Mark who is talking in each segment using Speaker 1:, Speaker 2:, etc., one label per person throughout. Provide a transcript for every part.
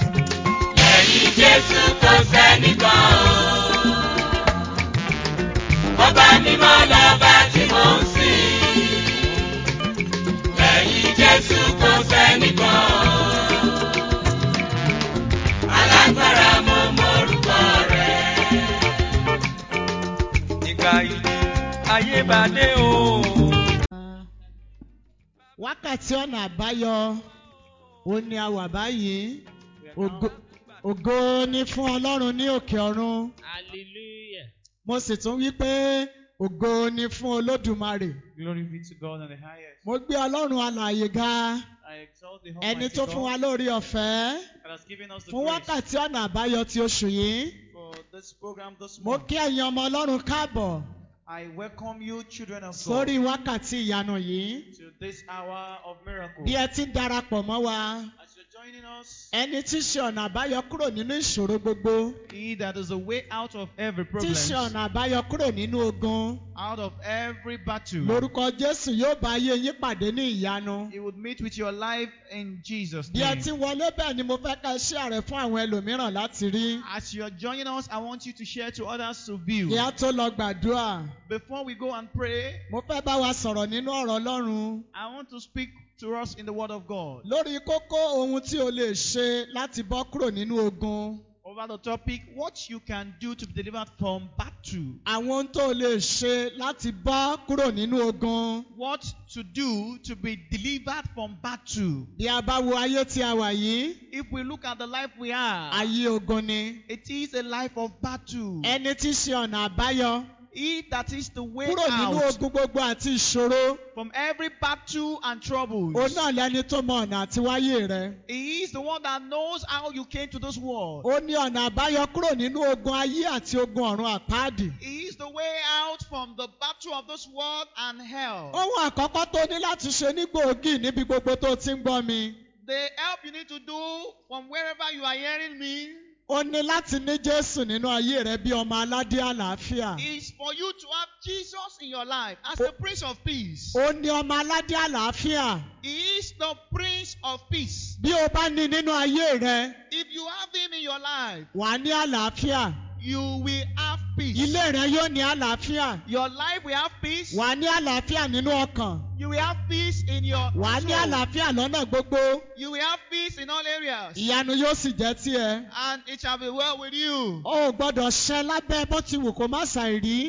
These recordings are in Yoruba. Speaker 1: Lẹ́yìn Jésù kò sẹ́nìkan o. Ọba mímọ́ lọ́ba tí mò ń sìn. Lẹ́yìn Jésù kò sẹ́nìkan o. Alágbára mo mórúkọ rẹ̀. Ìgbà ìdí ayé bá dé o.
Speaker 2: wákàtí ọ̀nà àbáyọ òun ni a wà báyìí ògo ògo ni fún ọlọ́run ní òkè ọ̀run
Speaker 3: Hallelujah.
Speaker 2: mo sì tún wí pé ògo ni fún olódùmarè
Speaker 3: Glory be to God on the highest.
Speaker 2: mo gbé ọlọ́run alààyè ga
Speaker 3: I exalt the
Speaker 2: ẹni
Speaker 3: Almighty
Speaker 2: tó
Speaker 3: God
Speaker 2: fún wa lórí ọ̀fẹ́
Speaker 3: that has given us the
Speaker 2: fún
Speaker 3: grace
Speaker 2: wákàtí ọ̀nà àbáyọ ti oṣù yìí
Speaker 3: for this program this
Speaker 2: mo
Speaker 3: month.
Speaker 2: kí ẹ̀yin ọmọ ọlọ́run káàbọ̀
Speaker 3: I welcome you, children of
Speaker 2: sórí
Speaker 3: God,
Speaker 2: wákàtí ìyanu yìí
Speaker 3: to this hour of miracle.
Speaker 2: bí ẹ ti ń darapọ̀ mọ́ wa
Speaker 3: As you're joining us,
Speaker 2: ẹni tí í ṣe ọ̀nà àbáyọ kúrò nínú ìṣòro gbogbo
Speaker 3: he that is a way out of every
Speaker 2: tí
Speaker 3: problem,
Speaker 2: í ṣe ọ̀nà àbáyọ kúrò nínú ogun.
Speaker 3: out of every battle,
Speaker 2: lórúkọ jésù yóò bá ayé yín pàdé ní ìyanu.
Speaker 3: he would meet with your life in Jesus'
Speaker 2: bí ẹ
Speaker 3: name.
Speaker 2: ti wọlé bẹ́ẹ̀ ni mo fẹ́ ká share rẹ̀ fún àwọn ẹlòmíràn láti rí.
Speaker 3: As you're joining us, I want you to share to others to view.
Speaker 2: kí á tó lọ gbàdúrà.
Speaker 3: Before we go and pray,
Speaker 2: mo fẹ́ bá wa sọ̀rọ̀ nínú ọ̀rọ̀ ọlọ́run.
Speaker 3: I want to speak to us in the Word of God.
Speaker 2: lórí kókó ohun tí o lè ṣe láti bọ́ kúrò nínú ogun.
Speaker 3: over the topic what you can do to be delivered from battle.
Speaker 2: àwọn ohun tó o lè ṣe láti bọ́ kúrò nínú ogun.
Speaker 3: What to do to be delivered from battle.
Speaker 2: bí a bá wo ayé tí a wà yìí
Speaker 3: If we look at the life we are,
Speaker 2: ayé ogun ni.
Speaker 3: it is a life of battle.
Speaker 2: ẹni tí í ṣe ọ̀nà àbáyọ
Speaker 3: He that is the way
Speaker 2: kúrò nínú
Speaker 3: out
Speaker 2: ogun gbogbo àti ìṣòro.
Speaker 3: from every battle and troubles.
Speaker 2: òun náà lẹni tó mọ ọ̀nà àtiwáyé rẹ̀.
Speaker 3: He is the one that knows how you came to this world.
Speaker 2: ó ní ọ̀nà àbáyọ kúrò nínú ogun ayé àti ogun ọ̀run àpáàdì.
Speaker 3: He is the way out from the battle of this world and hell.
Speaker 2: ohun àkọ́kọ́ tó ní láti ṣe ní gbòógì níbi gbogbo tó ti ń gbọ́ mi.
Speaker 3: The help you need to do from wherever you are hearing me
Speaker 2: ó ní láti ní jésù nínú ayé rẹ bí ọmọ aládé àlàáfíà.
Speaker 3: is for you to have Jesus in your life as the Prince of Peace.
Speaker 2: ó ní ọmọ aládé àlàáfíà.
Speaker 3: He is the Prince of Peace.
Speaker 2: bí o bá ní nínú ayé rẹ
Speaker 3: If you have Him in your life,
Speaker 2: wàá ní àlàáfíà.
Speaker 3: you will have peace.
Speaker 2: ilé rẹ yóò ní àlàáfíà.
Speaker 3: Your life will have peace.
Speaker 2: wàá ní àlàáfíà nínú ọkàn.
Speaker 3: You will have peace in your
Speaker 2: wàá ní
Speaker 3: soul.
Speaker 2: àlàáfíà lọ́nà gbogbo.
Speaker 3: You will have peace in all areas.
Speaker 2: ìyanu yóò sì jẹ́ tiẹ̀.
Speaker 3: And it shall be well with you.
Speaker 2: o ò gbọ́dọ̀ ṣẹ́ lábẹ́ bó ti wù kó má ṣàìrí.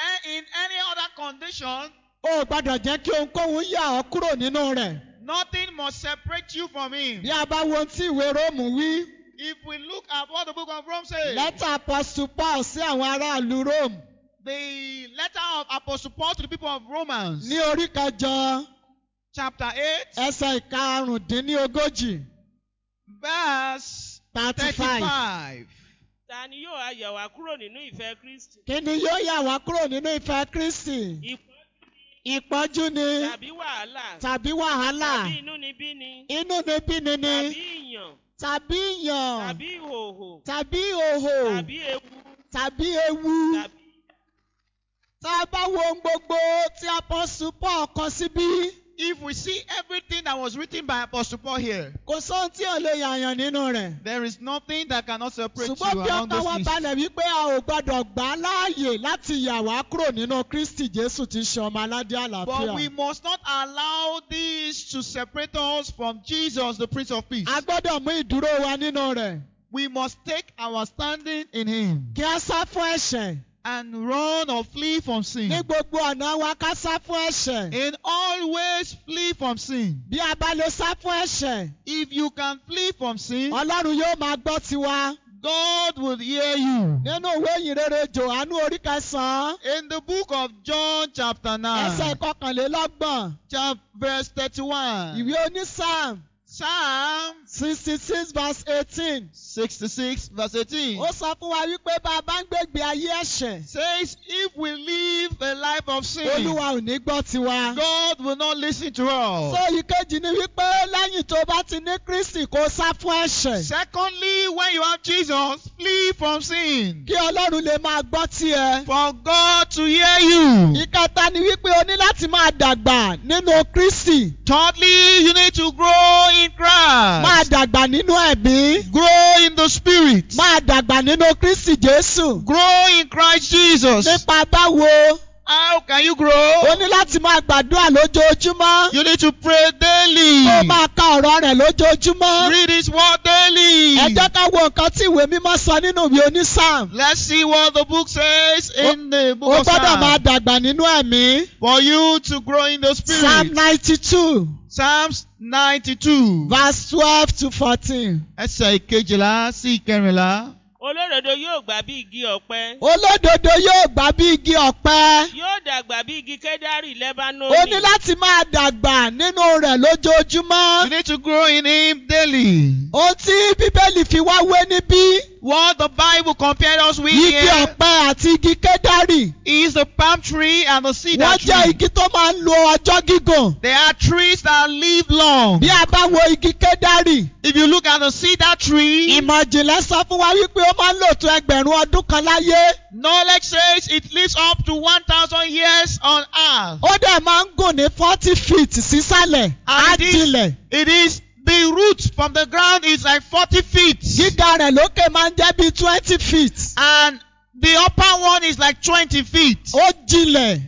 Speaker 3: And in any other condition,
Speaker 2: o ò gbọdọ̀ jẹ́ kí ohunkóhun yà ọ́ kúrò nínú rẹ̀.
Speaker 3: nothing must separate you from Him.
Speaker 2: bí a bá wo ohun tí ìwé róòmù wí
Speaker 3: If we look at what the book of Rome says,
Speaker 2: lẹ́tà apọ́sù paul sí àwọn aráàlú róòmù
Speaker 3: the letter of Apostle Paul to the people of Romans,
Speaker 2: ní orí kẹjọ
Speaker 3: chapter 8,
Speaker 2: ẹsẹ̀ ìkarùndínlógójì
Speaker 3: verse
Speaker 2: thirty five.
Speaker 3: 35.
Speaker 4: ta ni yóò ayọ̀ wá kúrò nínú ìfẹ́ kristi.
Speaker 2: kí ni yóò yà wá kúrò nínú ìfẹ́ kristi
Speaker 4: ìpọ́n
Speaker 2: ìpọ́njú ni
Speaker 4: tàbí wàhálà
Speaker 2: tàbí wàhálà
Speaker 4: tàbí inúnibíni
Speaker 2: inú ni bíni ni
Speaker 4: tàbí
Speaker 2: tàbí
Speaker 4: ìyàn
Speaker 2: ìyàn
Speaker 4: tàbí ìhòòhò
Speaker 2: tàbí òhò
Speaker 4: tàbí ewu
Speaker 2: tàbí ewu
Speaker 4: tàbí
Speaker 2: tá a bá wo ohun gbogbo tí apọ́sù paul kọ síbí
Speaker 3: If we see everything that was written by Apostle Paul here,
Speaker 2: kò sóhun tí ò lè yàyàn nínú rẹ̀.
Speaker 3: there is nothing that cannot separate
Speaker 2: ṣùgbọ́n
Speaker 3: you
Speaker 2: bí
Speaker 3: around
Speaker 2: ọkàn
Speaker 3: those
Speaker 2: wa
Speaker 3: things.
Speaker 2: balẹ̀ wípé a ò gbọ́dọ̀ gbà á láàyè láti yà wá kúrò nínú kristi jésù tí í ṣe ọmọ aládé
Speaker 3: But we
Speaker 2: àlàáfíà.
Speaker 3: must not allow this to separate us from Jesus, the Prince of Peace.
Speaker 2: a gbọ́dọ̀ mú ìdúró wa nínú rẹ̀
Speaker 3: We must take our standing in Him
Speaker 2: kí a sá fún ẹ̀ṣẹ̀.
Speaker 3: and run or flee from
Speaker 2: ní
Speaker 3: sin.
Speaker 2: gbogbo ọ̀nà wa ká sá fún ẹ̀ṣẹ̀.
Speaker 3: And always flee from sin.
Speaker 2: bí a bá lè sá fún ẹ̀ṣẹ̀
Speaker 3: If you can flee from sin,
Speaker 2: ọlọ́run yóò máa gbọ́ tiwa.
Speaker 3: God will hear you.
Speaker 2: nínú ìwé ìyìnrere jòhánù orí kẹsàn-án
Speaker 3: In the book of John, chapter 9,
Speaker 2: ẹsẹ̀ ìkọkànlélọ́gbọ̀n
Speaker 3: chap- verse 31,
Speaker 2: ìwé onísáàmù
Speaker 3: Psalm
Speaker 2: sixty six verse eighteen.
Speaker 3: 66 verse 18
Speaker 2: ó sọ fún wa wípé bá a bá ń gbègbè ayé ẹ̀ṣẹ̀
Speaker 3: says, If we live a life of sin,
Speaker 2: olúwa ò ní gbọ́ tiwa.
Speaker 3: God will not listen to us.
Speaker 2: so ìkejì ni wípé lẹ́yìn tó bá ti ní kristi kó sá fún ẹ̀ṣẹ̀
Speaker 3: Secondly, when you have Jesus, flee from sin.
Speaker 2: kí ọlọ́run lè máa gbọ́ tiẹ̀.
Speaker 3: For God to hear you.
Speaker 2: ìkẹta ni wípé o ní láti máa dàgbà nínú kristi
Speaker 3: Thirdly, you need to grow in
Speaker 2: máa
Speaker 3: Christ.
Speaker 2: dàgbà nínú ẹ̀mí
Speaker 3: Grow in the Spirit.
Speaker 2: máa dàgbà nínú kristi jésù.
Speaker 3: Grow in Christ Jesus.
Speaker 2: nípa báwo
Speaker 3: How can you grow?
Speaker 2: o ní láti máa gbàdúrà lójoojúmọ́
Speaker 3: You need to pray
Speaker 2: kó o
Speaker 3: daily.
Speaker 2: máa ka ọ̀rọ̀ rẹ̀ lójoojúmọ́.
Speaker 3: Read His Word daily.
Speaker 2: ẹ jẹ́ ká wo nǹkan tí ìwé mímọ́ sọ nínú ìwé onísáàmù.
Speaker 3: Let's see what the book says in the
Speaker 2: o
Speaker 3: book of
Speaker 2: gbọ́dọ̀ máa
Speaker 3: Psalms.
Speaker 2: dàgbà nínú ẹ̀mí.
Speaker 3: For you to grow in the
Speaker 2: psalm
Speaker 3: Spirit.
Speaker 2: ninety two
Speaker 3: Psalms 92.
Speaker 2: verse twelve to fourteen.
Speaker 3: Ẹsẹ̀ ìkejìlá sí ìkẹrìnlá.
Speaker 4: olódodo yóò gbà bí igi ọ̀pẹ
Speaker 2: olódodo yóò gbà bí igi ọ̀pẹ.
Speaker 4: yóò dàgbà bí igi kẹ́dárì lẹ́bánónì.
Speaker 2: o ní láti máa dàgbà nínú rẹ̀
Speaker 3: You
Speaker 2: lójoojúmọ́.
Speaker 3: need to grow in Him daily.
Speaker 2: ohun tí bíbélì fi wá wé níbí.
Speaker 3: What the Bible compared us with
Speaker 2: igi
Speaker 3: here
Speaker 2: ọ̀pẹ àti igi kẹ́dárì.
Speaker 3: is the palm tree and the cedar
Speaker 2: wọ́n jẹ́
Speaker 3: tree.
Speaker 2: igi tó máa ń lo ọjọ́ gígùn.
Speaker 3: They are trees that live long.
Speaker 2: bí a bá wo igi kẹ́dárì.
Speaker 3: If you look at the cedar tree,
Speaker 2: ìmọ̀ ìjìnlẹ̀ sọ fún wa wípé ó máa ń lò tó ẹgbẹ̀rún ọdún kan láyé.
Speaker 3: knowledge says it lives up to 1,000 years on earth.
Speaker 2: ó dẹ̀ máa ń gùn ní forty feet sísàlẹ̀ á
Speaker 3: And
Speaker 2: dilẹ̀.
Speaker 3: this, it is the root from the ground is like 40 feet,
Speaker 2: gíga rẹ̀ lókè máa ń jẹ́ bíi twenty feet.
Speaker 3: and the upper one is like 20 feet.
Speaker 2: ó jilẹ̀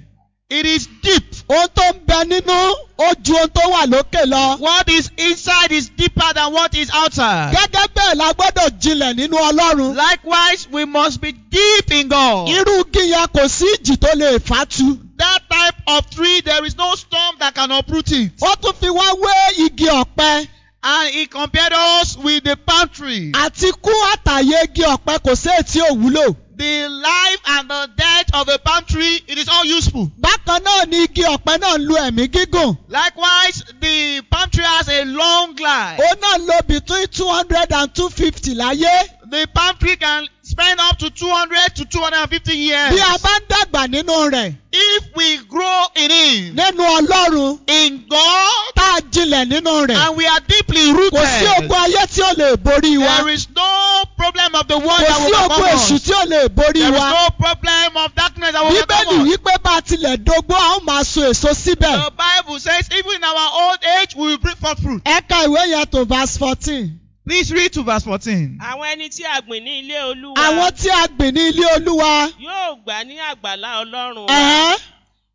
Speaker 3: It is deep.
Speaker 2: ohun tó ń bẹ nínú ó ju ohun tó wà lókè lọ.
Speaker 3: What is inside is deeper than what is outside.
Speaker 2: gẹ́gẹ́ bẹ́ẹ̀ la gbọ́dọ̀ jilẹ̀ nínú ọlọ́run.
Speaker 3: Likewise, we must be deep in God.
Speaker 2: irú igi yẹn kò sí ìjì tó lè fà tu.
Speaker 3: That type of tree, there is no storm that can uproot it.
Speaker 2: ó tún fi wá wé igi ọ̀pẹ.
Speaker 3: And he compared us with the palm tree.
Speaker 2: àti kú àtàyè igi ọ̀pẹ kò sí èyí tí ò wúlò.
Speaker 3: The life and the death of a palm tree, it is all useful.
Speaker 2: bákan náà ni igi ọ̀pẹ náà ń lo ẹ̀mí gígùn.
Speaker 3: Likewise, the palm tree has a long life.
Speaker 2: ó náà lo between two hundred and two fifty láyé.
Speaker 3: The palm tree can spend up to 200 to 250 years.
Speaker 2: bí a bá ń dàgbà nínú rẹ̀
Speaker 3: If we grow in him,
Speaker 2: nínú ọlọ́run
Speaker 3: in God,
Speaker 2: tá a jinlẹ̀ nínú rẹ̀
Speaker 3: and we are deeply
Speaker 2: kò sí
Speaker 3: rooted,
Speaker 2: ogun ayé tí ó lè borí
Speaker 3: there
Speaker 2: wa
Speaker 3: is no problem of the world
Speaker 2: kò
Speaker 3: that
Speaker 2: sí
Speaker 3: will
Speaker 2: ogun
Speaker 3: overcome
Speaker 2: èṣù
Speaker 3: us.
Speaker 2: tí ó lè borí
Speaker 3: There is
Speaker 2: wa
Speaker 3: no problem of darkness that will
Speaker 2: bíbélì
Speaker 3: overcome us.
Speaker 2: wípé bá a tilẹ̀ dógbó a ó máa so èso síbẹ̀
Speaker 3: The Bible says, even in our old age, we will bring forth fruit.
Speaker 2: ẹ̀ka ìwé yẹn tó verse fourteen
Speaker 3: Please read to verse 14.
Speaker 4: àwọn ẹni tí a gbìn ní ilé olúwa
Speaker 2: àwọn tí a gbìn ní ilé olúwa
Speaker 4: yóò gbà ní àgbàlá ọlọ́run wa.
Speaker 2: ẹ̀ẹ́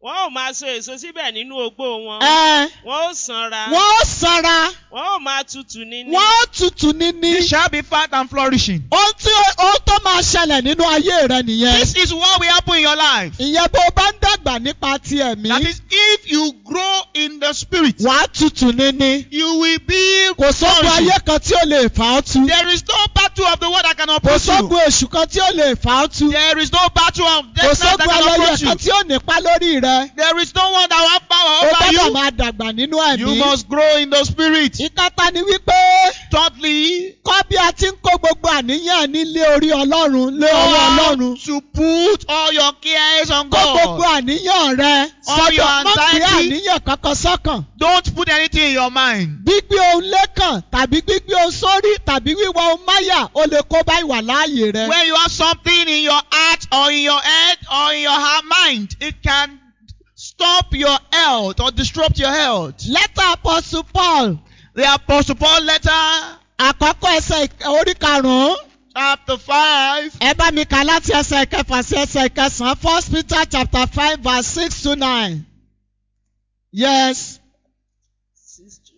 Speaker 4: wọn ò máa so èso síbẹ̀ nínú ogbó wọn.
Speaker 2: ẹ̀ẹ́
Speaker 4: wọn ó sanra.
Speaker 2: wọ́n ó sanra
Speaker 4: wọn ò máa tutù nínú.
Speaker 2: wọ́n ó tutù níní
Speaker 3: He shall be fat and flourishing.
Speaker 2: ohun tí ó- ohun tó máa ṣẹlẹ̀ nínú ayé rẹ nìyẹn.
Speaker 3: This is what will happen in your life.
Speaker 2: ìyẹn bó o bá ń dàgbà nípa ti
Speaker 3: That
Speaker 2: ẹ̀mí
Speaker 3: is, if you grow in the spirit,
Speaker 2: wàá tutù níní
Speaker 3: you will be
Speaker 2: kò sógun
Speaker 3: flourishing.
Speaker 2: ayé kan tí ó lè fà ọ́ tu
Speaker 3: There is no battle of the world that can
Speaker 2: kò
Speaker 3: oppose you.
Speaker 2: sógun èṣù kan tí ó lè fà ọ́ tu
Speaker 3: There is no battle of
Speaker 2: kò
Speaker 3: death that
Speaker 2: sógun
Speaker 3: can
Speaker 2: ayẹyẹ
Speaker 3: oppose
Speaker 2: kan
Speaker 3: you.
Speaker 2: tí ó nípa lórí rẹ
Speaker 3: There is no one that
Speaker 2: o
Speaker 3: will have power
Speaker 2: gbọ́dọ̀
Speaker 3: over
Speaker 2: máa dàgbà nínú
Speaker 3: you. You
Speaker 2: ẹ̀mí.
Speaker 3: must grow in the spirit.
Speaker 2: ìkẹta ni wípé
Speaker 3: Thirdly,
Speaker 2: kọ́ bí a ti ń kó gbogbo àníyàn nílé orí ọlọ́run lé ọwọ́
Speaker 3: know
Speaker 2: ọlọ́run
Speaker 3: how to put all your cares on
Speaker 2: kó gbogbo
Speaker 3: God.
Speaker 2: àníyàn rẹ
Speaker 3: All your
Speaker 2: sọ́dọ̀ má gbé
Speaker 3: anxiety.
Speaker 2: àníyàn kankan sọ́kàn.
Speaker 3: Don't put anything in your mind.
Speaker 2: gbígbé ohun lẹ́kàn tàbí gbígbé ohun sórí tàbí wíwá ohun máyà ó lè kó bá ìwà láàyè rẹ.
Speaker 3: When you have something in your heart or in your head or in your heart mind, it can stop your health or disrupt your health.
Speaker 2: lẹ́tà apostle paul
Speaker 3: The Apostle Paul letter,
Speaker 2: àkọ́kọ́ ẹsẹ̀ ìk- orí karùn-ún
Speaker 3: chapter 5,
Speaker 2: ẹ bá mi kà láti ẹsẹ̀ ìkẹfà sí ẹsẹ̀ ìkẹsàn-án first peter chapter five verse six to nine. yes first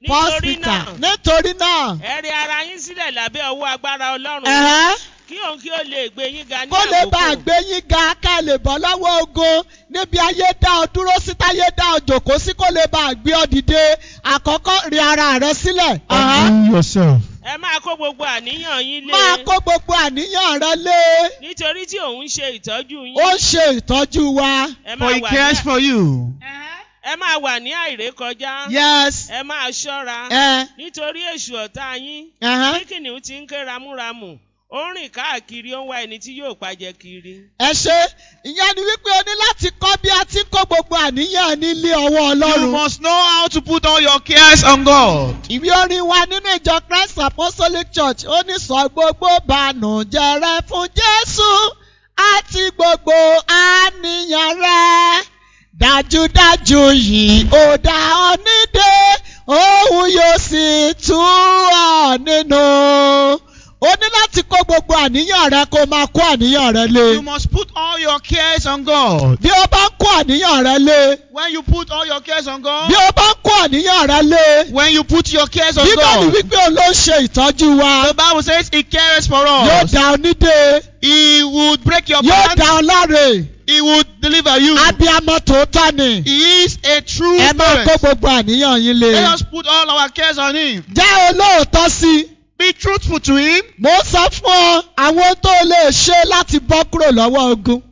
Speaker 4: nítorí
Speaker 2: peter
Speaker 4: náà
Speaker 2: nítorí náà
Speaker 4: ẹ rẹ ara yín sílẹ̀ lábẹ́ ọwọ́ agbára ọlọ́run
Speaker 2: ẹ̀hẹ́
Speaker 4: kí òun kí ó lè gbé yín ga ní
Speaker 2: kó lè bá a
Speaker 4: àkókò.
Speaker 2: gbé yín ga ká ẹ lè bọ́ lọ́wọ́ ogo níbi ayé dá ọ dúró sí táyé dá ọ jòkó sí kó lè bá a gbé ọ dìde àkọ́kọ́ rí ara rẹ sílẹ̀. Àhán.
Speaker 3: do yourself.
Speaker 4: ẹ máa kó gbogbo àníyàn yín lé
Speaker 2: máa kó gbogbo àníyàn rẹ lé
Speaker 4: nítorí tí òun ń ṣe ìtọ́jú yín.
Speaker 2: ó ń ṣe ìtọ́jú wa.
Speaker 3: For
Speaker 4: ẹ máa
Speaker 3: he
Speaker 4: wà
Speaker 3: cares
Speaker 4: ní
Speaker 3: for you.
Speaker 4: ẹ máa wà ní àìrékọjá.
Speaker 2: Yes.
Speaker 4: ẹ máa ṣọ́ra.
Speaker 2: Ẹ.
Speaker 4: nítorí èṣù ọ̀tá yín.
Speaker 2: Ẹ̀hán.
Speaker 4: bí kìnìún ti ń ké ramúramù ó ń rìn káàkiri ó ń wá ẹni tí yóò pajẹ kiri.
Speaker 2: Ẹ ṣe ìyẹn ni wípé o ní láti kọ́ bí a ti ń kó gbogbo àníyàn nílé ọwọ́
Speaker 3: You
Speaker 2: Ọlọ́run.
Speaker 3: must know how to put all your cares on God.
Speaker 2: Ìwé orin wa nínú ìjọ Christ Apostolic Church ó ní sọ gbogbo bànújẹ́ rẹ fún Jésù àti gbogbo àníyàn rẹ. Dájúdájú yìí ó dá ọ nídé, òun yóò sì tú ọ nínú. O ní láti kó gbogbo àníyàn rẹ kó máa kó àníyàn rẹ lé.
Speaker 3: You must put all your cares on God.
Speaker 2: Bí o bá ń kó àníyàn rẹ lé,
Speaker 3: When you put all your cares on God,
Speaker 2: bí o bá ń kó àníyàn rẹ lé,
Speaker 3: when you put your cares on
Speaker 2: Bíbélì
Speaker 3: God,
Speaker 2: wípé òun ló ń ṣe ìtọ́jú wa.
Speaker 3: the Bible says He cares for
Speaker 2: Yóò
Speaker 3: us.
Speaker 2: dá ọ nídé.
Speaker 3: He would break your
Speaker 2: yóò dá
Speaker 3: bands.
Speaker 2: ọ láre.
Speaker 3: He would deliver you.
Speaker 2: Abiamọ tòótọ́ ni.
Speaker 3: He is a true
Speaker 2: Ẹ máa kó
Speaker 3: parent.
Speaker 2: gbogbo àníyàn yín
Speaker 3: Let
Speaker 2: le.
Speaker 3: us put all our cares on Him.
Speaker 2: Jẹ́ olóòótọ́ sí i.
Speaker 3: Be truthful to Him.
Speaker 2: Mo ń sọ fún ọ àwọn tó lè ṣe láti bọ́ kúrò lọ́wọ́ ogun.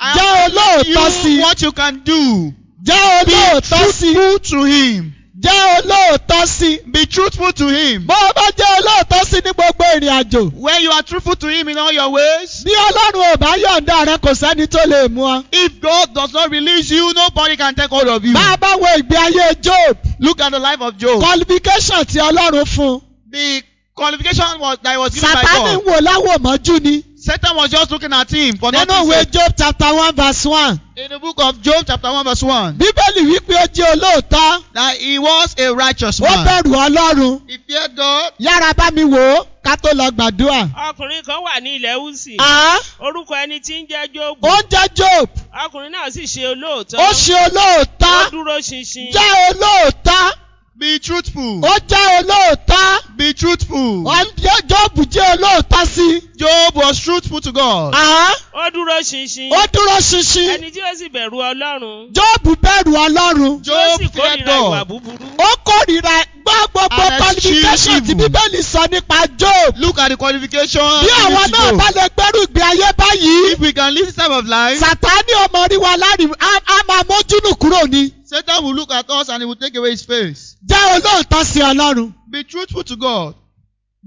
Speaker 3: And
Speaker 2: Jẹ́ olóòótọ́
Speaker 3: you
Speaker 2: sí i.
Speaker 3: what you can do.
Speaker 2: Jẹ́
Speaker 3: Be
Speaker 2: olóòótọ́ sí i.
Speaker 3: truthful to Him.
Speaker 2: Jẹ́ olóòótọ́ sí i.
Speaker 3: Be truthful to Him.
Speaker 2: Bó o bá jẹ́ olóòótọ́ sí i ní gbogbo ìrìn àjò.
Speaker 3: When you are truthful to Him in all your ways,
Speaker 2: Bí Ọlọ́run ò bá yọ̀ǹda rẹ kò sẹ́ni tó lè mú ọ.
Speaker 3: if God does not release you, nobody can take hold of you.
Speaker 2: Bá a bá wo ìgbé ayé Job,
Speaker 3: Look at the life of Job.
Speaker 2: qualification ti Ọlọ́run fún un.
Speaker 3: The qualification was, that was given by
Speaker 2: Sàtánì
Speaker 3: God.
Speaker 2: wò láwòmọ́jú ni.
Speaker 3: Satan was just looking at him for
Speaker 2: Nínú
Speaker 3: nothing.
Speaker 2: ìwé
Speaker 3: sake.
Speaker 2: Job chapter one verse one.
Speaker 3: In the book of Job, chapter 1, verse 1,
Speaker 2: Bíbélì wípé ó jẹ́ olóòótọ́,
Speaker 3: that he was a righteous
Speaker 2: ó
Speaker 3: man.
Speaker 2: bẹ̀rù Ọlọ́run.
Speaker 3: He feared God.
Speaker 2: Yára bá mi wò ó ká tó lọ gbàdúrà.
Speaker 4: ọkùnrin kan wà ní ilẹ̀ húsì.
Speaker 2: Àá
Speaker 4: orúkọ ẹni tí ń jẹ́
Speaker 2: Ah. ó
Speaker 4: jóògùn.
Speaker 2: ń jẹ́ Job,
Speaker 4: ọkùnrin náà sì ṣe olóòótọ́.
Speaker 2: ó ṣe
Speaker 4: ó
Speaker 2: olóòótọ́,
Speaker 4: dúró ṣinṣin.
Speaker 2: jẹ́ olóòótọ́,
Speaker 3: Be truthful.
Speaker 2: ó jẹ́ olóòótọ́.
Speaker 3: Be truthful.
Speaker 2: Ó ń jẹ́- Job jẹ́ olóòótọ́ sí i.
Speaker 3: Job was truthful to God.
Speaker 2: Àá
Speaker 4: ó dúró ṣinṣin.
Speaker 2: ó dúró ṣinṣin.
Speaker 4: ẹni tí ó sì bẹ̀rù ọlọ́run.
Speaker 2: Job bẹ̀rù Ọlọ́run.
Speaker 4: tí ó
Speaker 3: Job
Speaker 4: sì
Speaker 3: feared
Speaker 4: kórìíra ìwà
Speaker 3: God.
Speaker 4: búburú.
Speaker 2: Ó kórìíra gbọ́ gbogbo
Speaker 3: And eschewed
Speaker 2: qualification tí
Speaker 3: evil.
Speaker 2: Bíbélì sọ nípa Job.
Speaker 3: Look at the qualification.
Speaker 2: Bí àwọn
Speaker 3: given to
Speaker 2: náà
Speaker 3: Job.
Speaker 2: bá lè gbẹ́rù ìgbé ayé báyìí.
Speaker 3: If we can live this type of life,
Speaker 2: Sàtánì ọmọ rí wa lárí á á máa mójúnù kúrò ni.
Speaker 3: Satan will look at us and he will take away his face.
Speaker 2: Jẹ́ olóòótọ́ sí Ọlọ́run.
Speaker 3: Be truthful to God.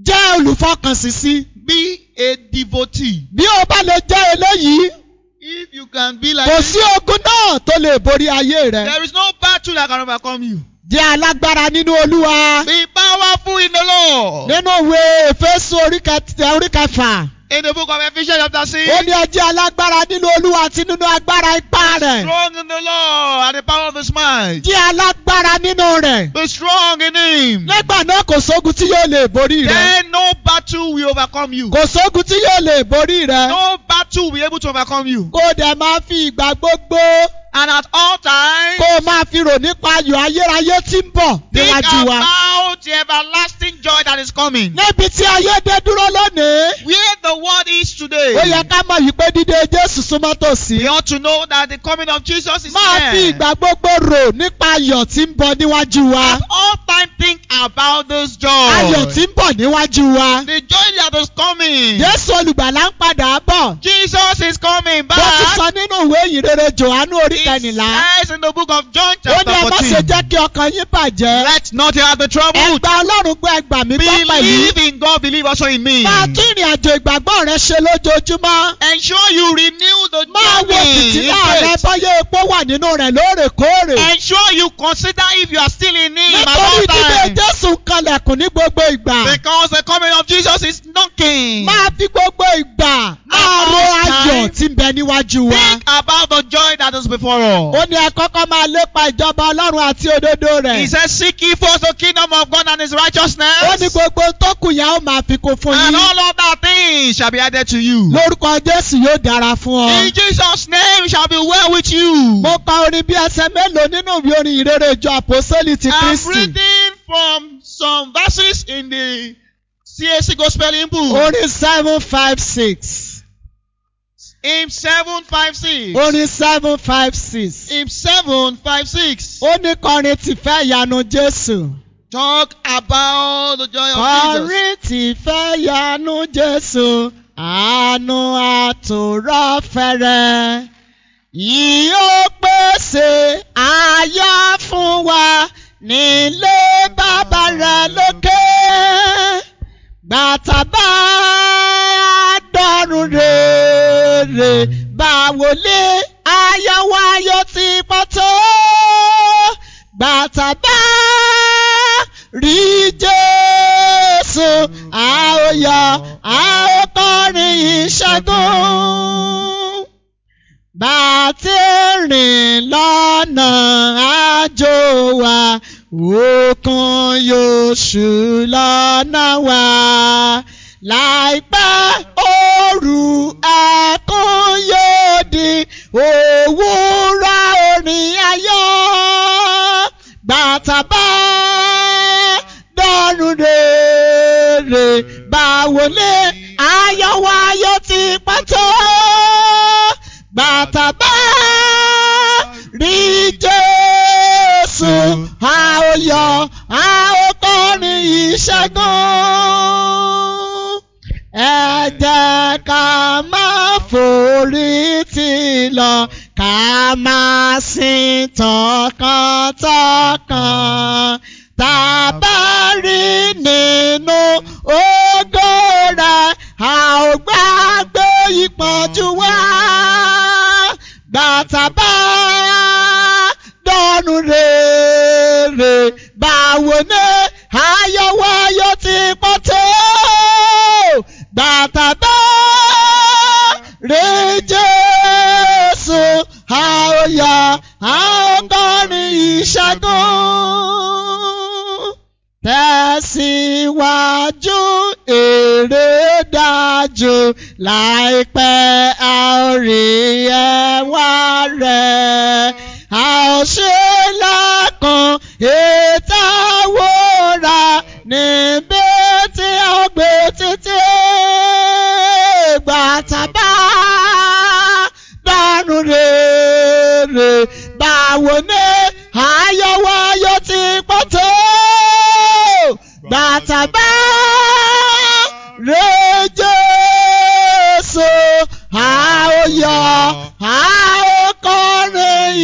Speaker 2: Jẹ́ olùfọkànsìn sí.
Speaker 3: Be a devotee.
Speaker 2: Bí o bá lè jẹ́ eléyìí,
Speaker 3: If you can be like
Speaker 2: kò
Speaker 3: this,
Speaker 2: sí ogun náà tó lè borí ayé rẹ̀.
Speaker 3: there is no battle that can overcome you.
Speaker 2: Jẹ́ alágbára nínú Olúwa.
Speaker 3: Be powerful in the Lord.
Speaker 2: Nínú ìwé Èfésù orí kẹt- orí kẹfà,
Speaker 3: In the book of Ephesians chapter
Speaker 2: ó
Speaker 3: 6,
Speaker 2: ní ọjọ́ alágbára nínú Olúwa àti nínú agbára ipá rẹ̀.
Speaker 3: strong in the Lord and the power of his might.
Speaker 2: Jẹ́ alágbára nínú rẹ̀.
Speaker 3: Be strong in him.
Speaker 2: Nígbà náà kò sógun tí yóò lè borí rẹ̀.
Speaker 3: Then no battle will overcome you.
Speaker 2: Kò sógun tí yóò lè borí rẹ̀.
Speaker 3: No battle will be able to overcome you.
Speaker 2: kó o dẹ̀ máa fi ìgbà gbogbo
Speaker 3: And at all times,
Speaker 2: kó o máa fi rò nípa ayọ̀ ayérayé tí ń bọ̀
Speaker 3: think
Speaker 2: níwájú wa.
Speaker 3: about the everlasting joy that is coming.
Speaker 2: Níbi tí ayé dé dúró lónìí,
Speaker 3: Where the world is
Speaker 2: ó yẹ
Speaker 3: today,
Speaker 2: ká mọ̀ wípé dídé Jésù súnmọ́
Speaker 3: we
Speaker 2: tòsí.
Speaker 3: ought to know that the coming of Jesus is
Speaker 2: Máa fi
Speaker 3: near.
Speaker 2: ìgbà gbogbo rò nípa ayọ̀ tí ń bọ̀ níwájú wa.
Speaker 3: At all times, think about this joy.
Speaker 2: Ayọ̀ tí ń bọ̀ níwájú wa.
Speaker 3: The joy that is coming.
Speaker 2: Jésù olùgbàlà ń padà bọ̀.
Speaker 3: Jesus is coming
Speaker 2: Bó ti
Speaker 3: back.
Speaker 2: sọ nínú ìwé ìyìnrere Jòhánù orí kẹnìlá.
Speaker 3: It says in the book of John
Speaker 2: Ó ní
Speaker 3: chapter
Speaker 2: ẹ má ṣe
Speaker 3: 14.
Speaker 2: jẹ́ kí ọkàn yín bàjẹ́.
Speaker 3: Let not have the trouble.
Speaker 2: Ẹgbà Ọlọ́run gbọ́ ẹgbà mi gbọ́ pẹ̀lú.
Speaker 3: Believe in God, believe also in me.
Speaker 2: Máa tún ìrìn àjò ìgbàgbọ́ rẹ ṣe lójoojúmọ́.
Speaker 3: Ensure you renew the
Speaker 2: Máa wo
Speaker 3: journey.
Speaker 2: fìtílà rẹ
Speaker 3: in faith.
Speaker 2: bọ́yé epo wà nínú rẹ̀ lóòrèkóòrè.
Speaker 3: Ensure you consider if you are still in need at
Speaker 2: Nítorí
Speaker 3: all
Speaker 2: dídé
Speaker 3: times.
Speaker 2: Jésù kanlẹ̀kùn ní gbogbo ìgbà.
Speaker 3: Because the coming of Jesus is knocking.
Speaker 2: Máa fi gbogbo ìgbà àrò ayọ̀ tí ń bẹ níwájú wa.
Speaker 3: Think about the joy that is before us.
Speaker 2: Ó ní ẹ kọ́kọ́ máa lépa ìjọba Ọlọ́run àti òdodo
Speaker 3: He
Speaker 2: rẹ̀.
Speaker 3: says, Seek ye first the kingdom of God and his
Speaker 2: Ó ní
Speaker 3: righteousness,
Speaker 2: gbogbo tó kù yẹn ó máa fi kún fún
Speaker 3: and
Speaker 2: yín.
Speaker 3: all other things shall be added to you.
Speaker 2: Lórúkọ Jésù yóò dára fún
Speaker 3: In
Speaker 2: ọ.
Speaker 3: Jesus' name shall be well with you.
Speaker 2: Mo kọ orin bí ẹsẹ̀ mélòó nínú ìwé orin ìrere ìjọ àpòsólì ti
Speaker 3: I'm
Speaker 2: Kristi.
Speaker 3: reading from some verses in the CAC Gospel book.
Speaker 2: Orin seven five six.
Speaker 3: Hymn 756.
Speaker 2: orin seven five six.
Speaker 3: Hymn 756.
Speaker 2: ó ní kọrin tìfẹ́ ìyanu jésù.
Speaker 3: Talk about the joy of Jesus.
Speaker 2: kọrin tìfẹ́ ìyanu jésù àánú àtòrọ́ fẹ́rẹ́. yìí ó pé pèsè àyà fún wa nílé bàbá rẹ̀ lókè. Gbàtà bá dọ́rùn rèrè bá wọlé ayọ̀wáyọ̀ ti pọ̀ tó. Gbàtà bá rí Jésù a ó yọ̀ a ó kọrin ìṣẹ́gun. Bá a ti rìn lọ́nà àjò wa, òkun yóò ṣú lọ́nà wa. Láìpẹ́ òru ẹkún yóò di òwúrọ̀ orin ayọ̀. Bàtà bá dọ́rùn rèrè báwo lé ayọ̀ wa yóò ti pàtó bàtà bá rí jésù a ó yọ a ó kọrin ìṣẹ́gun ẹ jẹ́ ká máa forí tì lọ ká máa sìn tọkàntọkàn tàbá rí nínú ògo rẹ̀ a ò gbàgbé ìpọ́njú wa bàtà bá dọ́nu rèrè báwo ni ayọ̀wáyọ̀ ti pọ̀ tó bàtà bá rí Jésù a ó yọ̀ a ó kọrin ìṣẹ́gun tẹ̀síwájú èrè dájú láìpẹ́ a ó rí ẹwà rẹ̀ a ó ṣe lákan ìtawọ́ra níbi tí a gbé títí gbàtàbá dánú rèrè báwo ni ayọ̀wáyọ̀ ti pọ̀ tó gbàtàbá rẹ̀ Jésù a ó yọ̀ a ó kọrin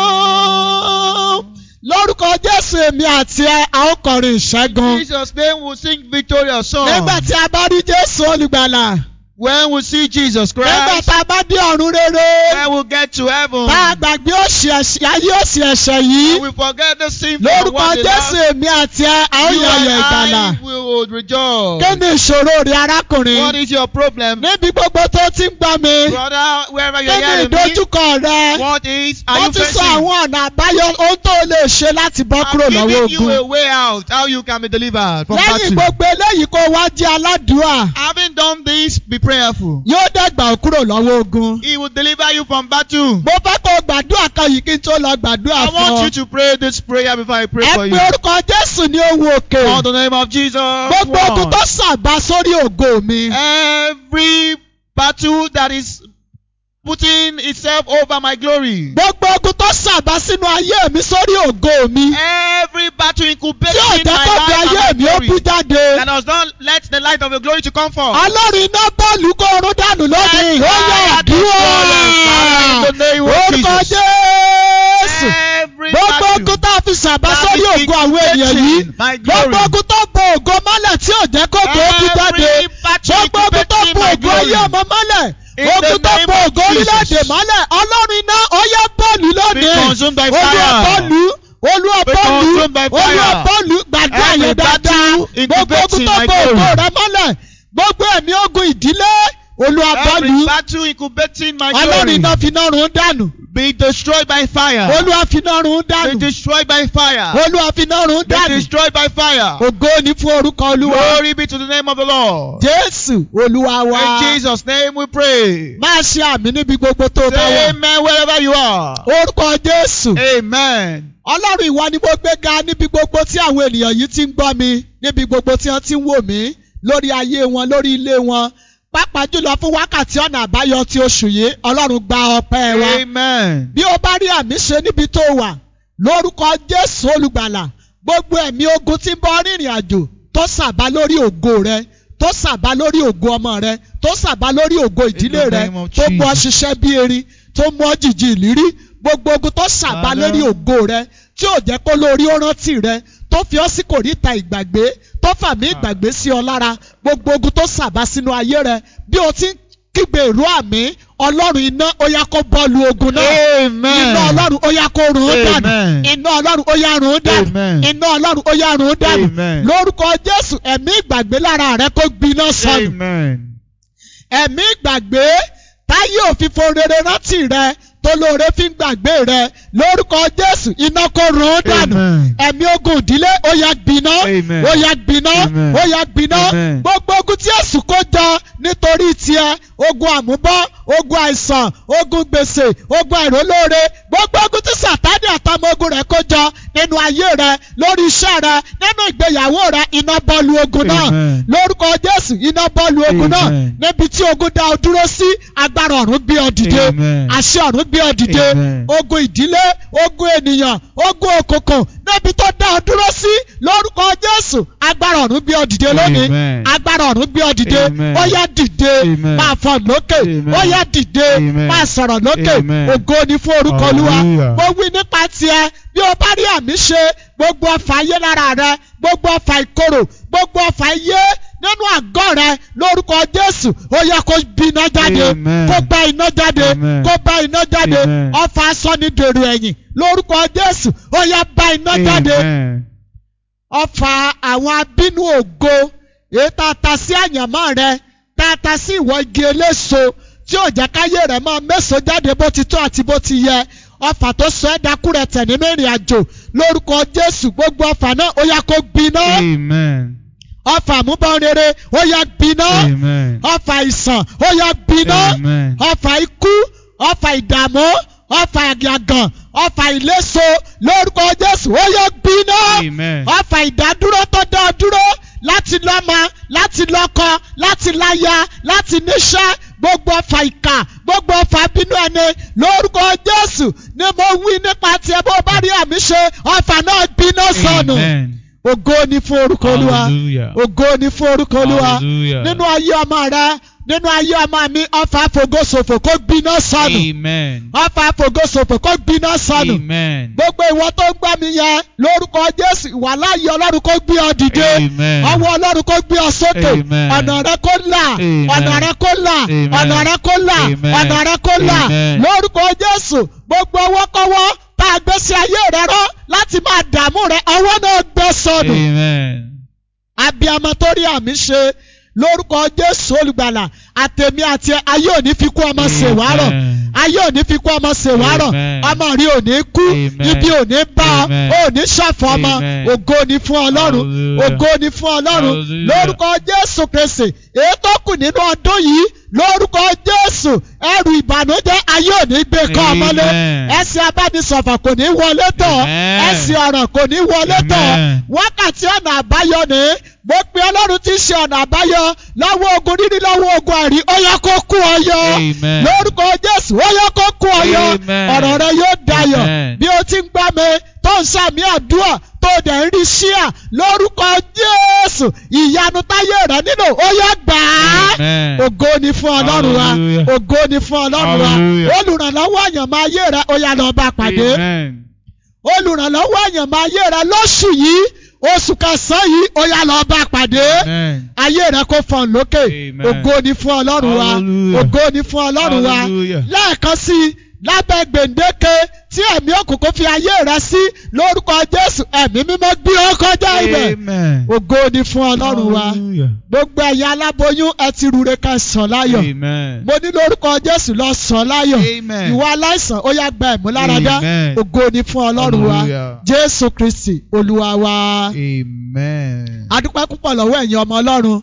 Speaker 2: ìṣẹ́gun. Lórúkọ Jésù èmi àti ẹ a ó kọrin ìṣẹ́gun.
Speaker 3: Jesus' name will sing victorious song.
Speaker 2: Nígbà tí a bá rí Jésù olùgbàlà.
Speaker 3: When we see
Speaker 2: Nígbà
Speaker 3: Jesus Christ,
Speaker 2: tá a bá dé ọ̀run rere.
Speaker 3: when we get to heaven,
Speaker 2: Bá a gbàgbé òṣì ẹ̀ṣẹ̀ ayé òṣì ẹ̀ṣẹ̀
Speaker 3: and
Speaker 2: yìí.
Speaker 3: we forget the sin from
Speaker 2: Lórúkọ
Speaker 3: what they
Speaker 2: Jésù
Speaker 3: lost,
Speaker 2: èmi àti ẹ a ó
Speaker 3: you
Speaker 2: yọ̀ ọ̀yọ̀
Speaker 3: and
Speaker 2: ìgbàlà.
Speaker 3: I will
Speaker 2: Kí
Speaker 3: rejoice.
Speaker 2: ni ìṣòro rẹ
Speaker 3: What
Speaker 2: arákùnrin?
Speaker 3: is your problem?
Speaker 2: Níbi gbogbo tó ti ń gbọ́ mi.
Speaker 3: Brother, wherever
Speaker 2: Kí
Speaker 3: you're
Speaker 2: ni
Speaker 3: hearing me,
Speaker 2: ìdojúkọ rẹ?
Speaker 3: what is, are
Speaker 2: Wọ́n
Speaker 3: you
Speaker 2: ti sọ
Speaker 3: facing?
Speaker 2: àwọn ọ̀nà àbáyọ ohun tó o lè ṣe láti bọ́ kúrò
Speaker 3: I'm
Speaker 2: lọ́wọ́
Speaker 3: giving you
Speaker 2: ogun.
Speaker 3: a way out, how you can be delivered from
Speaker 2: Lẹ́yìn
Speaker 3: battle.
Speaker 2: gbogbo eléyìí kó wá jẹ́ aládùúà.
Speaker 3: Having done this, be prayerful.
Speaker 2: Yóò dẹ̀gbà ọ́ kúrò lọ́wọ́ ogun.
Speaker 3: He will deliver you from battle.
Speaker 2: Mo fẹ́ kó o gbàdúrà kan yìí kí n tó lọ gbàdúrà
Speaker 3: I
Speaker 2: fún ọ.
Speaker 3: want you to pray this prayer before I pray
Speaker 2: Ẹ
Speaker 3: for you.
Speaker 2: pe orúkọ Jésù ní ohun òkè.
Speaker 3: For the name of Jesus.
Speaker 2: Gbogbo ogun
Speaker 3: one.
Speaker 2: tó sàbà sórí ògo mi.
Speaker 3: Every battle that is putting itself over my glory.
Speaker 2: Gbogbo ogun tó sàbà sínú ayé mi sórí ògo mi.
Speaker 3: Every battle
Speaker 2: Tí
Speaker 3: incubating
Speaker 2: òjẹ́
Speaker 3: my
Speaker 2: kó bí
Speaker 3: life
Speaker 2: ayé
Speaker 3: and
Speaker 2: mi
Speaker 3: my
Speaker 2: ó bú
Speaker 3: glory.
Speaker 2: jáde.
Speaker 3: That does not let the light of your glory to come forth.
Speaker 2: Ọlọ́run iná bọ́ọ̀lù kó orun dànù lónìí. Ó yẹ àdúrà.
Speaker 3: In the name of
Speaker 2: Orúkọ
Speaker 3: Jesus.
Speaker 2: Jésù.
Speaker 3: Every
Speaker 2: Gbogbo
Speaker 3: battle
Speaker 2: ogun tó fi sàbá
Speaker 3: that
Speaker 2: sórí
Speaker 3: is
Speaker 2: ògo àwọn ènìyàn yìí.
Speaker 3: incubating my glory.
Speaker 2: Gbogbo ogun tó bo ògo mọ́lẹ̀ tí ò jẹ́ kó bo ogun jáde.
Speaker 3: Every battle
Speaker 2: Gbogbo ogun tó
Speaker 3: incubating
Speaker 2: bo
Speaker 3: my
Speaker 2: ògo ayé
Speaker 3: glory.
Speaker 2: ọmọ mọ́lẹ̀.
Speaker 3: In the
Speaker 2: Ogun tó
Speaker 3: name
Speaker 2: bo
Speaker 3: of
Speaker 2: ògo orílẹ̀-èdè
Speaker 3: Jesus.
Speaker 2: mọ́lẹ̀. Ọlọ́run iná ó yẹ bọ́ọ̀lù lónìí.
Speaker 3: Be consumed by
Speaker 2: Olúwa
Speaker 3: fire.
Speaker 2: bọ́ọ̀lù. Olúwa
Speaker 3: Be
Speaker 2: bọ́ọ̀lù.
Speaker 3: consumed by fire.
Speaker 2: Olúwa bọ́ọ̀lù. Gbàdúrà yẹn
Speaker 3: Every battle
Speaker 2: dáadáa. Gbogbo ogun tó
Speaker 3: incubating my
Speaker 2: bo ògo
Speaker 3: glory.
Speaker 2: rẹ mọ́lẹ̀. Gbogbo ẹ̀mí ogun ìdílé. Olúwa
Speaker 3: Every
Speaker 2: bọ́ọ̀lù.
Speaker 3: battle incubating my
Speaker 2: Ọlọ́run iná
Speaker 3: glory.
Speaker 2: finá run dànù.
Speaker 3: Be destroyed by fire.
Speaker 2: Olúwa finá run
Speaker 3: Be
Speaker 2: dànù.
Speaker 3: destroyed by fire.
Speaker 2: Olúwa finá run
Speaker 3: Be
Speaker 2: dànù.
Speaker 3: destroyed by fire.
Speaker 2: Ògo ni fún orúkọ Olúwa.
Speaker 3: Glory be to the name of the Lord.
Speaker 2: Jésù Olúwa
Speaker 3: In
Speaker 2: wa.
Speaker 3: Jesus' name we pray.
Speaker 2: Máa ṣe àmì níbi gbogbo tó bá
Speaker 3: Say
Speaker 2: wà.
Speaker 3: amen wherever you are.
Speaker 2: Orúkọ Jésù.
Speaker 3: Amen.
Speaker 2: Ọlọ́run ìwọ ni mo gbé ga níbi gbogbo tí àwọn ènìyàn yìí ti ń gbọ́ mi, níbi gbogbo tí wọ́n ti ń wò mí, lórí ayé wọn, lórí ilé wọn. Pápá jùlọ fún wákàtí ọ̀nà àbáyọ ti oṣù yìí, Ọlọ́run gba ọpẹ́ wa.
Speaker 3: Amen.
Speaker 2: bí o bá rí àmì ṣe níbi tó wà lórúkọ jésù olùgbàlà gbogbo ẹ̀mí ogun tí ń bọ́ rìnrìn àjò tó sàbá lórí ògo rẹ tó sàbá lórí ògo ọmọ rẹ tó sàbá lórí ògo ìdílé rẹ
Speaker 3: name of
Speaker 2: tó bọ́
Speaker 3: Jesus.
Speaker 2: ṣiṣẹ́ bí erin tó mú ọ jìjì ìlérí gbogbo ogun tó ṣàbá
Speaker 3: Father.
Speaker 2: lérí ògo rẹ tí ò jẹ́ kó lórí ó rántí rẹ tó fi ọ́ sí kòríta ìgbàgbé tó fàmì
Speaker 3: Ah.
Speaker 2: ìgbàgbé sí ọ lára gbogbo ogun tó ṣàbá sínú ayé rẹ bí o ti ń kígbe ìró àmì ọlọ́run iná ó yá kó bọ́ọ̀lù ogun náà iná ọlọ́run ó yá kó run ó dànù
Speaker 3: Amen.
Speaker 2: iná ọlọ́run ó yá run ó dànù
Speaker 3: Amen.
Speaker 2: iná ọlọ́run ó yá run ó dànù
Speaker 3: Amen.
Speaker 2: lórúkọ jésù ẹ̀mí ìgbàgbé lára rẹ kó gbiná sọnù
Speaker 3: Amen.
Speaker 2: ẹ̀mí ìgbàgbé táyé òfìfo rere rántí rẹ tó lóore fi ń gbàgbé rẹ lórúkọ jésù iná kó run ó dànù
Speaker 3: Amen.
Speaker 2: ẹ̀mí ogun ìdílé ó yá gbiná
Speaker 3: Amen.
Speaker 2: ó yá gbiná
Speaker 3: Amen.
Speaker 2: ó yá gbiná
Speaker 3: Amen.
Speaker 2: gbogbo ogun tí èsù kó jọ nítorí tiẹ̀ ogun àmúbọ́ ogun àìsàn ogun gbèsè ogun àìrólóore gbogbo ogun tí sàtánì àtàwọn ogun rẹ̀ kó jọ nínú ayé rẹ lórí iṣẹ́ rẹ nínú ìgbéyàwó rẹ iná bọ́ọ̀lù ogun náà
Speaker 3: Amen.
Speaker 2: lórúkọ jésù iná bọ́ọ̀lù ogun náà
Speaker 3: Amen.
Speaker 2: níbi tí ogun dá ọ dúró sí agbára ọ̀run gbé ọ dìde
Speaker 3: Amen.
Speaker 2: àṣẹ ọ̀run gbé ọ dìde
Speaker 3: Amen.
Speaker 2: ogun ìdílé ogun ènìyàn ogun òkùnkùn níbi tó dá ọ dúró sí lórúkọ jésù agbára ọ̀run gbé ọ dìde lónìí
Speaker 3: Amen.
Speaker 2: agbára ọ̀run gbé ọ dìde
Speaker 3: Amen.
Speaker 2: ó yá dìde
Speaker 3: Amen.
Speaker 2: máa fọ̀ lókè
Speaker 3: Amen.
Speaker 2: ó yá dìde
Speaker 3: Amen.
Speaker 2: máa sọ̀rọ̀ lókè
Speaker 3: Amen.
Speaker 2: ògo ni fún orúkọ olúwa
Speaker 3: Hallelujah.
Speaker 2: mo wí nípa tiẹ̀ bí o bá rí àmì ṣe gbogbo ọfà ayé lára rẹ gbogbo ọfà ìkorò gbogbo ọfà ayé nínú àgọ́ rẹ lórúkọ jésù ó yẹ kó bí iná jáde
Speaker 3: Amen.
Speaker 2: kó bá iná jáde
Speaker 3: Amen.
Speaker 2: kó bá iná jáde
Speaker 3: Amen.
Speaker 2: ọfà sọni dèrò ẹ̀yìn lórúkọ jésù ó yẹ bá iná jáde
Speaker 3: Amen.
Speaker 2: ọfà àwọn abínú ògo èyí tá a ta sí àyànmọ́ rẹ tá a ta sí ìwọ igi eléso tí ò jẹ́ káyé rẹ máa méso jáde bó ti tó àti bó ti yẹ ọfà tó sọ ẹ́ dakúrẹ̀tẹ̀ nínú ìrìn àjò lórúkọ Jésù gbogbo ọfà náà ó yá kó gbiná
Speaker 3: Amen.
Speaker 2: ọfà àmúbọ̀n rere ó yá gbiná
Speaker 3: Amen.
Speaker 2: ọfà ìsàn ó yá gbiná
Speaker 3: Amen.
Speaker 2: ọfà ikú ọfà ìdààmú ọfà àgàgàn ọfà ìléso lórúkọ Jésù ó yá gbiná
Speaker 3: Amen.
Speaker 2: ọfà ìdádúró tó dá ọ dúró láti lọ́mọ láti lọ́kọ láti láya láti níṣẹ́ gbogbo ọfà ìkà gbogbo ọfà bínú ẹni lórúkọ jésù ni mo wí nípa tiẹ̀ bó bá rí àmì ṣe ọfà náà bínú sọnù
Speaker 3: Amen.
Speaker 2: ògo ni fún orúkọ olúwa
Speaker 3: Hallelujah.
Speaker 2: ògo ni fún orúkọ olúwa
Speaker 3: Hallelujah.
Speaker 2: nínú ayé ọmọ rẹ nínú ayé ọmọ mi ọfà àfògósòfò kó gbiná sọnù
Speaker 3: Amen.
Speaker 2: ọfà àfògósòfò kó gbiná sọnù
Speaker 3: Amen.
Speaker 2: gbogbo ìwọ tó ń gbọ́ mi yẹn lórúkọ jésù ìwà láàyè ọlọ́run kó gbé ọ dìde
Speaker 3: Amen.
Speaker 2: ọwọ́ ọlọ́run kó gbé ọ sókè
Speaker 3: Amen.
Speaker 2: ọ̀nà rẹ kó là
Speaker 3: Amen.
Speaker 2: ọ̀nà rẹ kó là
Speaker 3: Amen.
Speaker 2: ọ̀nà rẹ kó là
Speaker 3: Amen.
Speaker 2: ọ̀nà rẹ kó là
Speaker 3: Amen.
Speaker 2: lórúkọ jésù gbogbo ọwọ́ kọ́wọ́ tá a gbé sí ayé rẹ rọ láti máa dààmú rẹ ọwọ́ náà gbé sọnù
Speaker 3: Amen.
Speaker 2: abiyamọ tó rí àmì ṣe lórúkọ jésù olùgbàlà àtẹmí àti ẹ, ayé òní fi kú ọmọ ṣèwárọ
Speaker 3: Amen.
Speaker 2: ayé òní fi kú ọmọ ṣèwárọ
Speaker 3: Amen.
Speaker 2: ọmọ rí òní kú
Speaker 3: Amen.
Speaker 2: ibi òní bá ọ,
Speaker 3: Amen.
Speaker 2: ó ní ṣọ̀fọ̀ ọmọ
Speaker 3: Amen.
Speaker 2: ògo ni fún ọlọ́run
Speaker 3: Hallelujah.
Speaker 2: ògo ni fún ọlọ́run
Speaker 3: Hallelujah.
Speaker 2: lórúkọ jésù kristi èyí tó kù nínú ọdún yìí lórúkọ jésù ẹrù ìbànújẹ́ ayé òní gbé kọ ọmọlé
Speaker 3: Amen.
Speaker 2: ẹsẹ̀ abánisọ̀fọ̀ kò ní wọlé tọ̀
Speaker 3: Amen.
Speaker 2: ẹsẹ̀ ọ̀ràn kò ní wọlé tọ̀
Speaker 3: Amen.
Speaker 2: wákàtí ọ̀nà àbáyọ ni mo pe ọlọ́run tí í ṣe ọ̀nà àbáyọ lọ́wọ́ ogun rírí lọ́wọ́ ogun àrí ó yẹ kó kú ọyọ
Speaker 3: Amen.
Speaker 2: lórúkọ jésù ó yẹ kó kú ọyọ
Speaker 3: Amen.
Speaker 2: ọ̀rọ̀ rẹ yóò dayọ̀
Speaker 3: Amen.
Speaker 2: bí o ti ń gbá mi tó ń sàmì àdúrà tó dẹ̀ ń rí ṣíà lórúkọ jésù ìyanu táyé rẹ nínú ó yẹ gbà á
Speaker 3: Amen.
Speaker 2: ògo ni fún ọlọ́run wa
Speaker 3: Hallelujah.
Speaker 2: ògo ni fún ọlọ́run wa
Speaker 3: Hallelujah.
Speaker 2: olùrànlọ́wọ́ àyànmọ́ ayé rẹ ó yà lọ́ọ́ bá pàdé
Speaker 3: Amen.
Speaker 2: olùrànlọ́wọ́ èèyàn máa yé rẹ lóṣù yìí oṣù kẹsàn-án yìí ó yá lọ bá pàdé
Speaker 3: Amen.
Speaker 2: ayé rẹ kó fọ̀n lókè
Speaker 3: Amen.
Speaker 2: ògo ni fún ọlọ́run wa
Speaker 3: Hallelujah.
Speaker 2: ògo ni fún ọlọ́run wa
Speaker 3: Hallelujah.
Speaker 2: lẹ́ẹ̀kan sí i lábẹ́ gbèǹdéke tí ẹ̀mí òkùnkùn fi ayé rẹ sí lórúkọ jésù ẹ̀mí mímọ́ gbé ọ kọjá ibẹ̀
Speaker 3: Amen. Oh,
Speaker 2: ògo ni fún ọlọ́run wa
Speaker 3: Hallelujah.
Speaker 2: gbogbo ẹ̀yin aláboyún ẹ ti rure kan sàn láyọ̀
Speaker 3: Amen.
Speaker 2: mo ní lórúkọ jésù lọ sàn láyọ̀
Speaker 3: Amen.
Speaker 2: ìwà aláìsàn ó yá gba ìmúláradá
Speaker 3: Amen.
Speaker 2: ògo ni fún ọlọ́run wa
Speaker 3: Hallelujah.
Speaker 2: jésù kristi olúwa wa.
Speaker 3: Amen.
Speaker 2: adúpẹ́ púpọ̀ lọ́wọ́ ẹ̀yin ọmọ ọlọ́run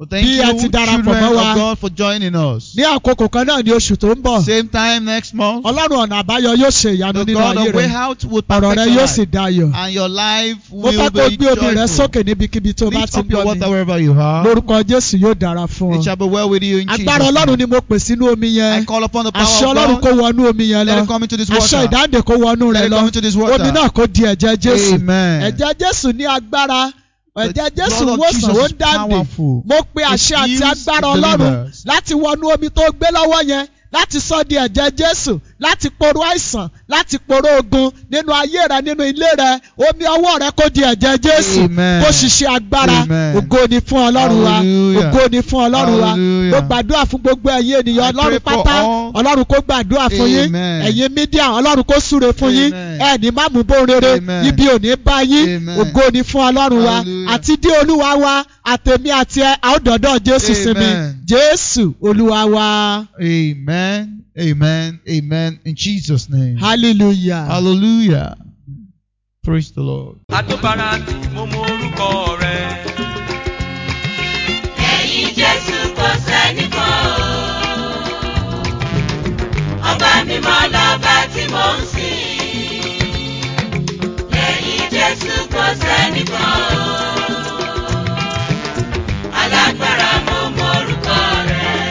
Speaker 3: Well, thank
Speaker 2: Bí
Speaker 3: you,
Speaker 2: a ti
Speaker 3: children
Speaker 2: darapọ̀
Speaker 3: of
Speaker 2: mọ́ wa.
Speaker 3: God, for joining us.
Speaker 2: ní àkókò kan náà ní oṣù tó ń bọ̀
Speaker 3: Same time next month,
Speaker 2: ọlọ́run ọ̀nà àbáyọ yóò ṣe ìyanu
Speaker 3: the
Speaker 2: nínú
Speaker 3: God
Speaker 2: ayé
Speaker 3: of way
Speaker 2: rẹ
Speaker 3: out will
Speaker 2: ọ̀rọ̀
Speaker 3: perfect
Speaker 2: rẹ
Speaker 3: your
Speaker 2: yóò
Speaker 3: life,
Speaker 2: sì dayọ̀
Speaker 3: and your life
Speaker 2: mo fẹ́
Speaker 3: will
Speaker 2: kó o
Speaker 3: be
Speaker 2: gbé obì rẹ
Speaker 3: joyful.
Speaker 2: sókè níbikíbi tó o bá
Speaker 3: Lift
Speaker 2: ti
Speaker 3: up your
Speaker 2: gbọ́
Speaker 3: water
Speaker 2: mi
Speaker 3: wherever you are.
Speaker 2: lórúkọ jésù yóò dára fún
Speaker 3: It
Speaker 2: ọ
Speaker 3: shall be well with you in Jesus.
Speaker 2: agbára ọlọ́run ni
Speaker 3: name.
Speaker 2: mo pè sínú omi
Speaker 3: I
Speaker 2: yẹn
Speaker 3: call upon the
Speaker 2: àṣẹ
Speaker 3: power
Speaker 2: ọlọ́run
Speaker 3: of
Speaker 2: kó
Speaker 3: God.
Speaker 2: wọnú omi yẹn
Speaker 3: Let it
Speaker 2: lọ
Speaker 3: come into this
Speaker 2: àṣẹ
Speaker 3: water.
Speaker 2: ìdáǹdè kó wọnú rẹ
Speaker 3: Let it
Speaker 2: lọ
Speaker 3: come into this water.
Speaker 2: omi náà kó di ẹ̀jẹ̀ jésù
Speaker 3: Amen.
Speaker 2: ẹ̀jẹ̀ jésù ní agbára ẹ̀jẹ̀
Speaker 3: The
Speaker 2: jésù
Speaker 3: blood of
Speaker 2: wòsàn
Speaker 3: Jesus
Speaker 2: ó
Speaker 3: is
Speaker 2: dáǹdè
Speaker 3: powerful.
Speaker 2: mo pe àṣẹ
Speaker 3: It
Speaker 2: àti
Speaker 3: heals,
Speaker 2: agbára
Speaker 3: it
Speaker 2: ọlọ́run
Speaker 3: delivers.
Speaker 2: láti wọnú omi tó gbé lọ́wọ́ yẹn láti sọ di ẹ̀jẹ̀ jésù láti poró àìsàn láti poró ogun nínú ayé rẹ nínú ilé rẹ omi ọwọ́ rẹ kó di ẹ̀jẹ̀ Jésù
Speaker 3: Amen.
Speaker 2: kó ṣiṣẹ́ agbára
Speaker 3: Amen.
Speaker 2: ògo ni fún Ọlọ́run wa
Speaker 3: Hallelujah.
Speaker 2: ògo ni fún Ọlọ́run wa
Speaker 3: Hallelujah.
Speaker 2: mo gbàdúrà fún gbogbo ẹ̀yin ènìyàn
Speaker 3: I pray
Speaker 2: Ọlọ́run
Speaker 3: for
Speaker 2: pátá
Speaker 3: all.
Speaker 2: Ọlọ́run kó gbàdúrà fún yín
Speaker 3: Amen.
Speaker 2: ẹ̀yin mídíà Ọlọ́run kó súre fún yín
Speaker 3: Amen.
Speaker 2: ẹ̀ẹ́dì má mú bóun rere
Speaker 3: Amen.
Speaker 2: ibi ò ní bá yín
Speaker 3: Amen.
Speaker 2: ògo ni fún Ọlọ́run wa
Speaker 3: Hallelujah.
Speaker 2: àti dé Olúwa wa àtèmi àti ẹ àódọ́dọ́ Jésù sinmi
Speaker 3: Amen.
Speaker 2: Jésù Olúwa wa
Speaker 3: Amen. Amen. Amen. In Jesus' name.
Speaker 2: hallelujah.
Speaker 3: Hallelujah. Praise the Lord.
Speaker 5: Adóbara tí mo mọ orúkọ rẹ̀.
Speaker 1: Ẹ̀yin Jésù kò sẹ́nìkan o. Ọba mímọ́ lọ́ba tí mò ń sìn. Ẹ̀yin Jésù kò sẹ́nìkan o. Alágbára mo mọ orúkọ rẹ̀.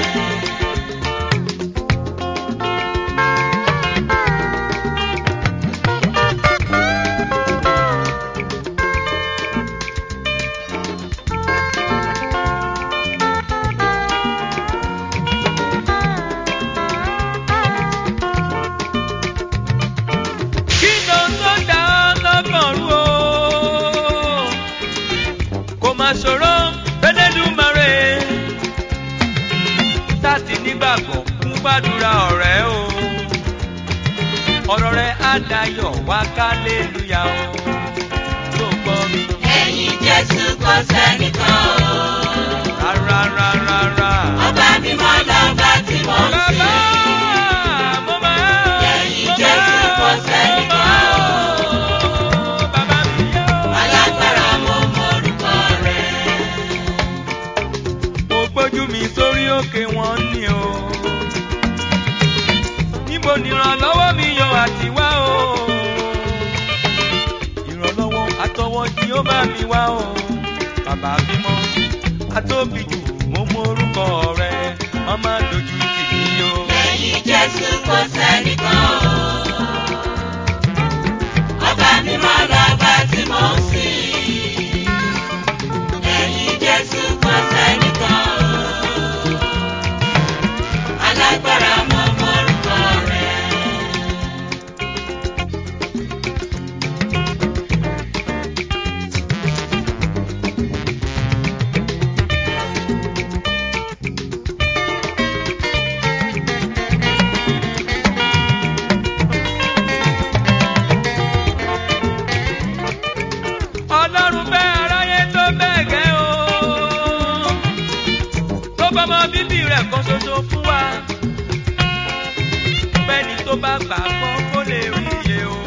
Speaker 5: Kí ló ń tó dá ọ lọ́gbọ̀n rú o? Kò máa ṣòro Elédùmarè. Tàti nígbàgbọ́ ń gbàdúrà ọ̀rẹ́ o. Ọ̀rọ̀ rẹ̀ á dayọ̀ wá kálélúyà o. Tó gbọ́ mi.
Speaker 1: Ẹ̀yin Jésù kò sẹ́nìkan o.
Speaker 5: Rárá rárá rárá.
Speaker 1: Ọba mímọ́ lọ́ba tí mò ń
Speaker 5: Bàbá
Speaker 1: sìn.
Speaker 5: mo máa
Speaker 1: Ẹ̀yin
Speaker 5: mo máa
Speaker 1: Jésù kò sẹ́nìkan
Speaker 5: o. Bàbá mi yóò.
Speaker 1: Alágbára mo mọ orúkọ rẹ̀.
Speaker 5: mo gbójú mi sórí òkè wọn ni o. níbo ni ìrànlọ́wọ́ mi yọ àti wá o. ìrànlọ́wọ́ àtọwọ́ tí ó bá mi wá o. bàbá bímọ atóbi jù mo mọ orúkọ rẹ màmá dojú tì mí o.
Speaker 1: Lẹ́yìn Jésù kò sẹ́nìkan o. Ọba mímọ́ lọ́ba tí mò ń sìn. Lẹ́yìn Jésù kò sẹ́nìkan o. Alágbára mo mọ orúkọ rẹ̀.
Speaker 5: ọlọ́run fẹ́ aráyé tó bẹ́ẹ̀ gẹ́ o. tó bá mọ bíbí rẹ̀ kan ṣoṣo fún wa. bẹ́ẹ̀ni tó bá gbà fọ́ kó lè rí iye o.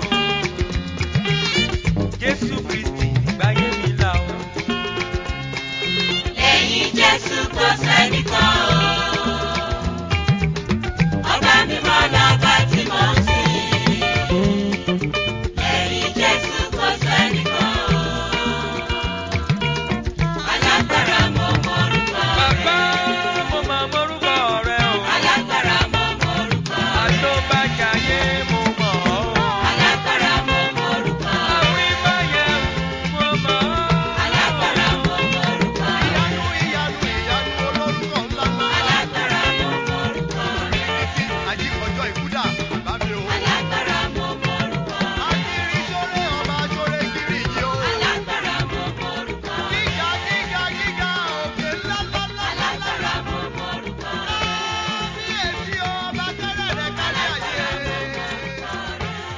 Speaker 5: jésù kristi gbáyé mi là o.
Speaker 1: Lẹ́yìn Jésù kò sẹ́nìkan o. Ọba mímọ́ lọ́ba tí mò ń sìn. Lẹ́yìn Jésù kò sẹ́nìkan o. Alágbára mo mọ orúkọ
Speaker 5: bàbá
Speaker 1: rẹ̀.
Speaker 5: mo máa mọrúkọ rẹ o.
Speaker 1: Alágbára mo mọ orúkọ rẹ̀.
Speaker 5: àtọ́bàjáyé mo mọ̀ ọ́.
Speaker 1: Alágbára mo mọ orúkọ rẹ̀.
Speaker 5: àwífàyẹ̀ mo mọ̀ ọ́.
Speaker 1: Alágbára mo mọ orúkọ rẹ̀.
Speaker 3: Ìyanu, ìyanu, ìyanu olórúkọ ńlá ńlá.
Speaker 1: Alágbára mo mọ orúkọ rẹ̀.
Speaker 3: Àjíkọjọ́ ìkúdà, bàbá mi o.
Speaker 1: Alágbára mo mọ orúkọ rẹ̀.
Speaker 3: Akiri ṣoré ọba ṣoré kiri yìí o.
Speaker 1: Alágbára mo mọ orúkọ rẹ̀.
Speaker 3: Gíga, gíga, gíga, òkè ńlá ńlá ńlá ńlá ńlá.
Speaker 1: Alágbára mo mọ orúkọ rẹ̀.
Speaker 3: Kíyèsí o, ọba tẹ́lẹ̀ rẹ̀ kárí ayé.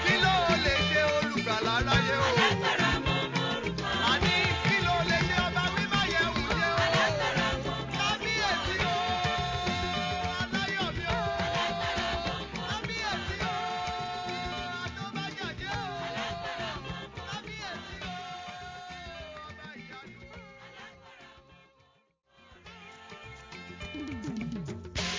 Speaker 3: Kí ló lè ṣe olùgbàlà aráyé o?
Speaker 1: Alágbára mo mọ orúkọ rẹ̀.
Speaker 3: Àní kí ló lè ṣe ọba wímáyé wúlé o?
Speaker 1: Alágbára mo mọ
Speaker 3: Kábíyèsí o, aláyọ̀mí o. Kábíyèsí o, adọ́bájáde o. Kábíyèsí o, ọba ìyanu.